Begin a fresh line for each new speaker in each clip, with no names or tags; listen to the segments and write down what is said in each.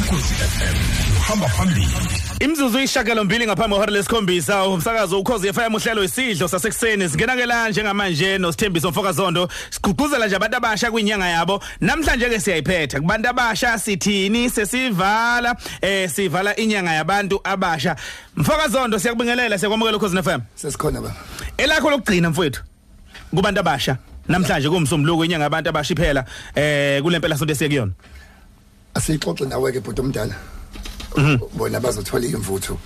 ukhosi FM uhamba phambili
imzuzu isishagalombili ngaphambi kwehora lesikhombisa umsakazo ukhozi FM uhlelo isidlo sasekuseni singenake la njengamanje nosithembiso mfokazondo sigqugquzela nje abantu abasha kwinyanga yabo namhlanje ke siyayiphetha kubantu abasha sithini sesivala eh sivala inyanga yabantu abasha mfokazondo siyakubingelela siyakwamukela ukhozi FM
sesikhona baba
elakho lokugcina mfowethu kubantu abasha namhlanje kuumsombuluko inyanga yabantu abasha iphela eh kulempela sonto esiyekuyona
asixoxe nawe ke bhuti omdala bona bazothola imvuthu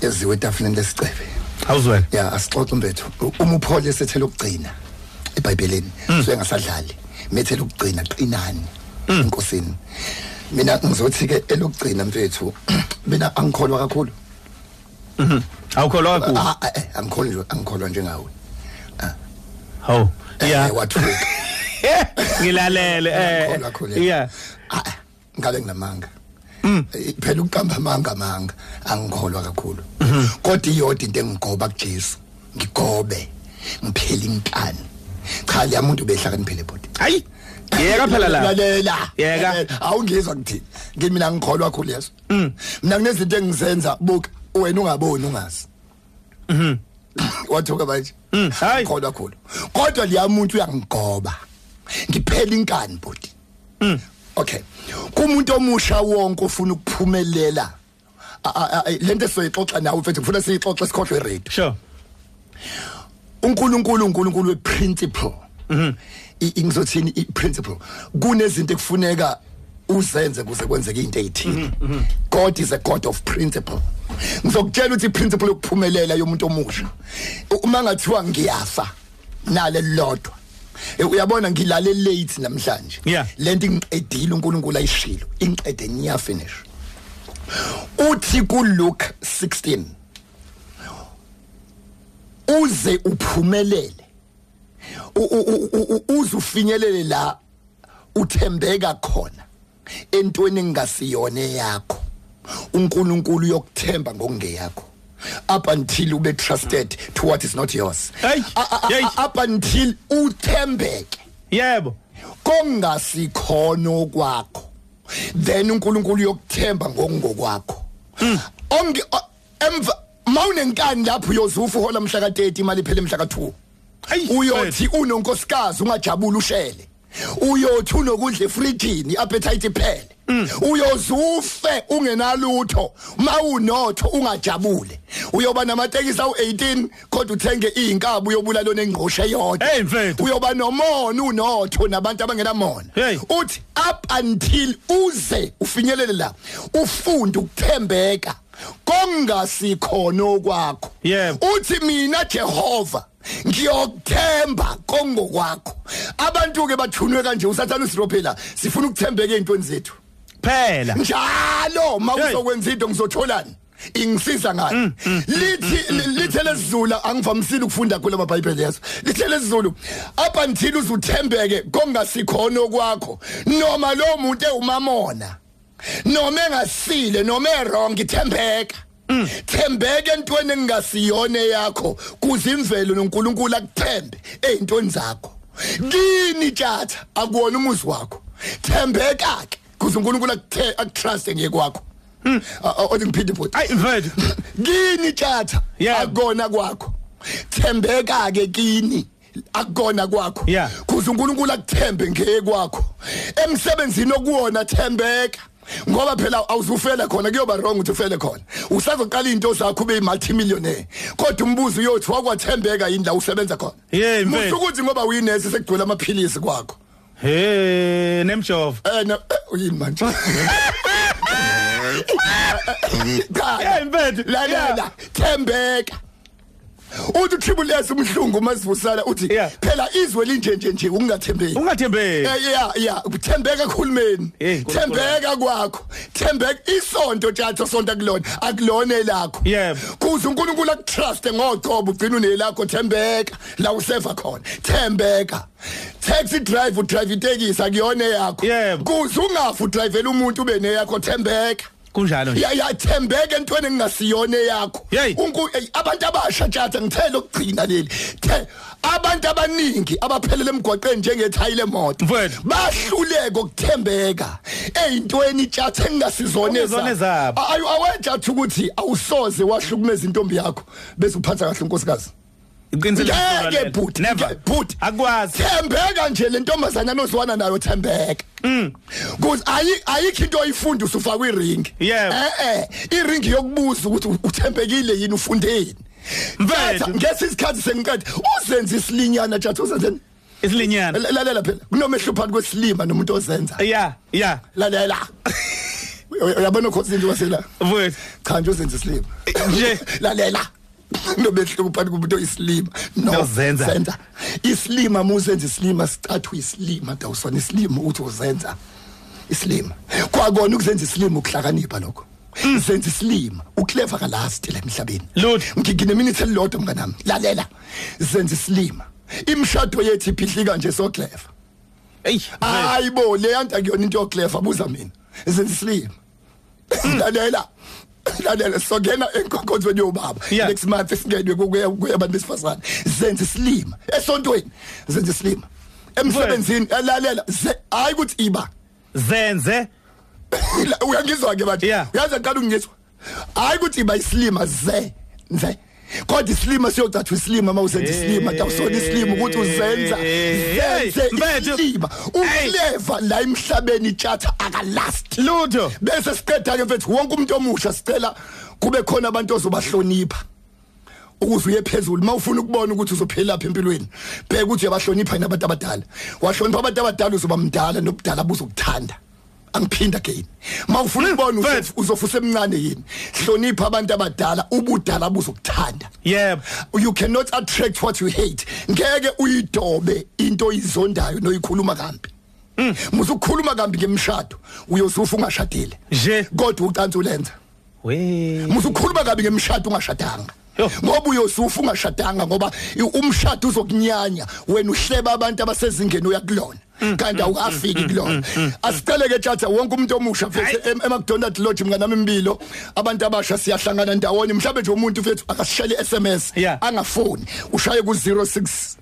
eziwe etafuleni lesicebe
awuzwela
ya asixoxe umbethu uma uphole sethele ukugcina eBhayibhelini so engasadlali methele ukugcina qinani inkosini mina ngizothi ke elokugcina mfethu mina angikholwa kakhulu
awukholwa kakhulu
Ah, ah, eh, angikholwa angikholwa njengawe
hawu
Eh,
yeah
wathuka Eh,
ngilalele eh
Ngiyakholwa kakhulu,
yeah Mm.
Ah, ah, ngabe nginamanga Eh, phela ukuqamba amanga amanga angikholwa kakhulu
Mhm.
kodwa iyodwa into engigoba kuJesu ngigobe ngiphela inkani cha liya muntu behlakaniphele bodi
hayi yeka phela la
lalela
Yeka. Mm.
Lalela. awungizwa kuthini ngimi mina ngikholwa kakhulu yeso mina kunezinto engizenza buka wena ungaboni ungazi mhm wathoka manje
Mm, hayi.
ngikholwa kakhulu kodwa liya muntu uyangigoba ngiphela inkani bodi
Mm.
okay kumuntu omusha wonke ufuna ukuphumelela A- a- a- lento esizoyixoxa nawe mfethu ngifuna siyixoxe sikhohlwe i-radio
sure
uNkulunkulu uNkulunkulu weprinciple mhm ingizothini iprinciple kunezinto ekufuneka uzenze kuze kwenzeke into ezithile God is a god of principle ngizokutshela ukuthi iprinciple yokuphumelela yomuntu omusha u- uma ngathiwa ngiyafa nale lodwa Eh, uyabona ngilale late namhlanje
Yeah.
lento ingiqedile uNkulunkulu ayishilo ingiqede niya finish uthi kuLuke 16 uze uphumelele U- u- u- u- uze ufinyelele la uthembeka khona entweni engasiyone yakho uNkulunkulu yokuthemba ngokungeyakho up until ube trusted to what is not yours
Hey,
A- a- a-
hey.
a- up until uthembeke
yebo
kongasikhono kwakho then uNkulunkulu yokuthemba ngokungokwakho onge o- emva mawunenkani lapho uyozufa uhola mhla ka30 imali iphele mhla ka2
Ayi,
uyothi unonkosikazi ungajabula ushele uyothi unokudla efrijini appetite iphele
Mm.
uyozufe ungenalutho mawunotho ungajabule uyoba namatekisi awu18 kodwa uthenge izinkabu yobulalo nengqoshe yodwa
Hey, mfethu.
uyoba nomona unotho nabantu abangenamona
Hey.
uthi up until uze ufinyelele la ufunde ukuthembeka kongasikhono kwakho
Yebo.
uthi mina Jehova ngiyokuthemba kongokwakho abantu ke bathunwe kanje usathana usirophela sifuna ukuthembeka ezintweni zethu
phela Hey.
njalo mawuzokwenza into ngizotholani ingisiza ngani lithi li- lithele sizulu angivamisile ukufunda kule maBhayibheli yeso lithele sizulu up until uzuthembeke kongasikhono kwakho noma lo muntu ewumamona noma engasile noma errong ithembeka thembeke entweni engasiyone yakho kuze imvelo noNkulunkulu akuthembe ezintweni zakho kini tjatha akuwona umuzi wakho thembeka ke kuze uNkulunkulu akuthe akutrust ngekwakho Hmm, othi ngiphinde futhi
ayi mfethu
kini tjatha
Yeah.
akona kwakho thembeka ke kini akona kwakho
Yeah.
kuze uNkulunkulu akuthembe ngekwakho emsebenzini okuwona thembeka ngoba phela awuzufela khona kuyoba wrong ukuthi ufele khona usazoqala into zakho ube multi millionaire kodwa umbuzo uyothi wakwathembeka yini la usebenza khona
Yeah, mfethu.
musu ukuthi ngoba uyinesi sekugcwele amaphilisi kwakho
he nemjova
Eh no eh, uyini manje?
yeah
Cha.
mfethu
Lalela thembeka. Uthi uThibule umhlungu masivusala uthi
Yeah.
phela izwe linje nje nje ungathembeki.
ungathembeki
Eh yeah yeah kuthembeka khulumeni
Eh, Nkulunkulu.
thembeka kwakho thembeka isonto tjatha sonto kulona akulone lakho
Yebo.
kuze uNkulunkulu akutrust ngoqobo ugcina unelakho thembeka la useva khona thembeka taxi drive udrive itekisi akuyona yakho
Yebo.
kuze ungafu drivele umuntu ube neyakho thembeka
kunjalo nje
Ya- yathembeka entweni engingasiyona yakho
Yey.
Unku- eyi, abantu abasha tjata ngithele ukugcina leli the abantu abaningi abaphelele emgwaqeni njengethayile moto
Mfowethu.
bahluleka ukuthembeka eyintweni tjata engingasizone
Okuyizona
za-
zabo.
A- ayu- awetjatha ukuthi awusoze wahlukumeza intombi yakho bese uphatha kahle unkosikazi
iqinisele
ngeke bhuti
never
ngeke, bhuti
akwazi
thembeka nje le ntombazana nozwana nayo thembeka kuze ayi- ayikho into oyifunda usufaka kwiringi
Yebo.
eh eh iringi yokubuza ukuthi u- uthembekile yini ufundeni
Mfethu.
Thatha, ngesi isikhathi sengiqeda uzenze isilinyana jathi uzenzeni
isilinyana
L- lalela phela kunomehluko phakathi kwesilima nomuntu ozenza
ya ya
lalela uyabona ukhosi into wasela
mfowethu
cha nje uzenze isilima
Nje.
lalela nomehluko phakathi komuntu oyisilima
Nozenza.
senza isilima muzenza isilima sicathu isilima dawusona isilima uthi uzenza isilima kwakona ukuzenza isilima ukuhlakanipha lokho senza isilima uclever ka last la emhlabeni
Lutho.
ngigine minute elilodwa mnganami lalela senza isilima imshado yethu iphihli kanje so clever
eyi mfowethu.
Hayibo leyanta kuyona into yoclever buza mina. Izinslima. Lalela. Lalela sogena enkonkonzweni yobaba.
Yeah.
Next month singenwe kuya kuya abantu besifazane. Senze islima. Esontweni senze islima. Emsebenzini lalela ze- hayi ukuthi iba.
zenze
La- Uyangizwa ke manje.
Yeah.
Uyazi qala ungizwa. Hayi ukuthi iba islima ze nze. Kodwa islima siyocathwa islima mawusenza islima tawusona islima ukuthi uzenza
Hey,
senze
mfethu.
islima
Hey.
uclever la emhlabeni tjatha akalast
lutho
bese siqeda ke mfethu wonke umuntu omusha sicela kube khona abantu ozobahlonipha ukuze uye phezulu mawufuna ukubona ukuthi uzophila lapha empilweni bheka ukuthi uyabahlonipha yini abantu abadala wahlonipha abantu abadala uzoba mdala nobudala buzokuthanda angiphinda again mawufuna ukubona ukuthi uzofusa emncane yini hlonipha abantu abadala ubudala buzokuthanda
yebo
you cannot attract what you hate ngeke uyidobe into oyizondayo noyikhuluma kambi musu ukukhuluma kambi ngemshado uyosufa ungashadile
nje
kodwa ucansi ulenza
we
musu ukukhuluma kambi ngemshado ungashadanga
Yo.
ngoba uyosufa ungashadanga ngoba i- umshado uzokunyanya wena uhleba abantu abasezingeni uyakulona
Mm.
kanti awukafiki kulona asicele ke tjatha wonke umuntu omusha mfethu em- eMcDonald Lodge mnganami imbilo abantu abasha siyahlangana ndawonye mhlawumbe nje umuntu mfethu akasishele iSMS
Yeah.
angafoni ushaye ku 06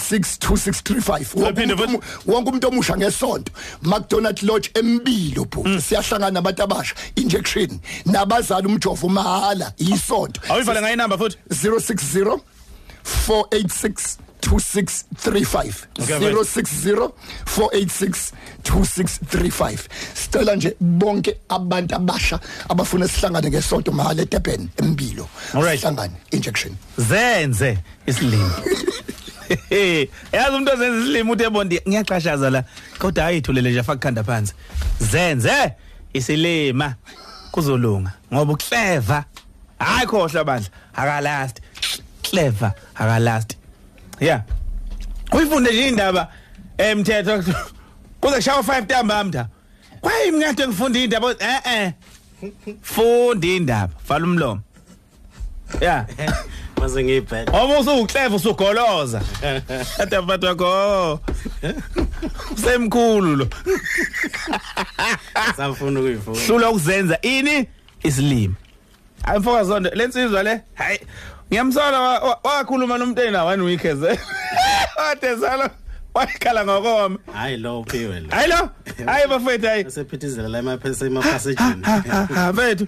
04862635 Wonke
Uyaphinde
umuntu
futhi?
omu- wonke umuntu omusha ngesonto McDonald Lodge embilo bhuti siyahlangana nabantu abasha injection nabazali umjovo mahala isonto
awuyivale ngayo inamba futhi
060 486 2635
Okay, mate.
060 486 2635 Sicela nje bonke abantu abasha abafuna sihlangane ngesonto mahala eDurban embilo
Alright.
sihlangane injection
zenze isilimo yazi umuntu ozenza isilimo uthe bondi ngiyaxashaza la kodwa ayithulele nje afakukhanda phansi zenze isilima kuzolunga ngoba uclever hayi khohle bandla akalast clever akalast yeah uyifunde nje indaba emthetho kuze kushawa 5 ntambamda kwaye mina nto ngifunda indaba eh eh funda indaba vala umlomo yeah
mase ngiyibhela
Uma usuclever usugoloza. Kodwa mfati wakho semkhulu lo.
safuna ukuyivula
Hlula ukuzenza ini Ah, isilimo. Hayi mfoka zonke lensizwa le. Hayi ngiyamsola wa- wa- wakhuluma nomnteni na one week eze. Oh, Watezalo wakhala ngokoma.
hayi lo uphiwe lo
Hayi lo. Hayi bafethu hayi. Ah,
asephithizela la emaphasejini
Ha ha ha bethu.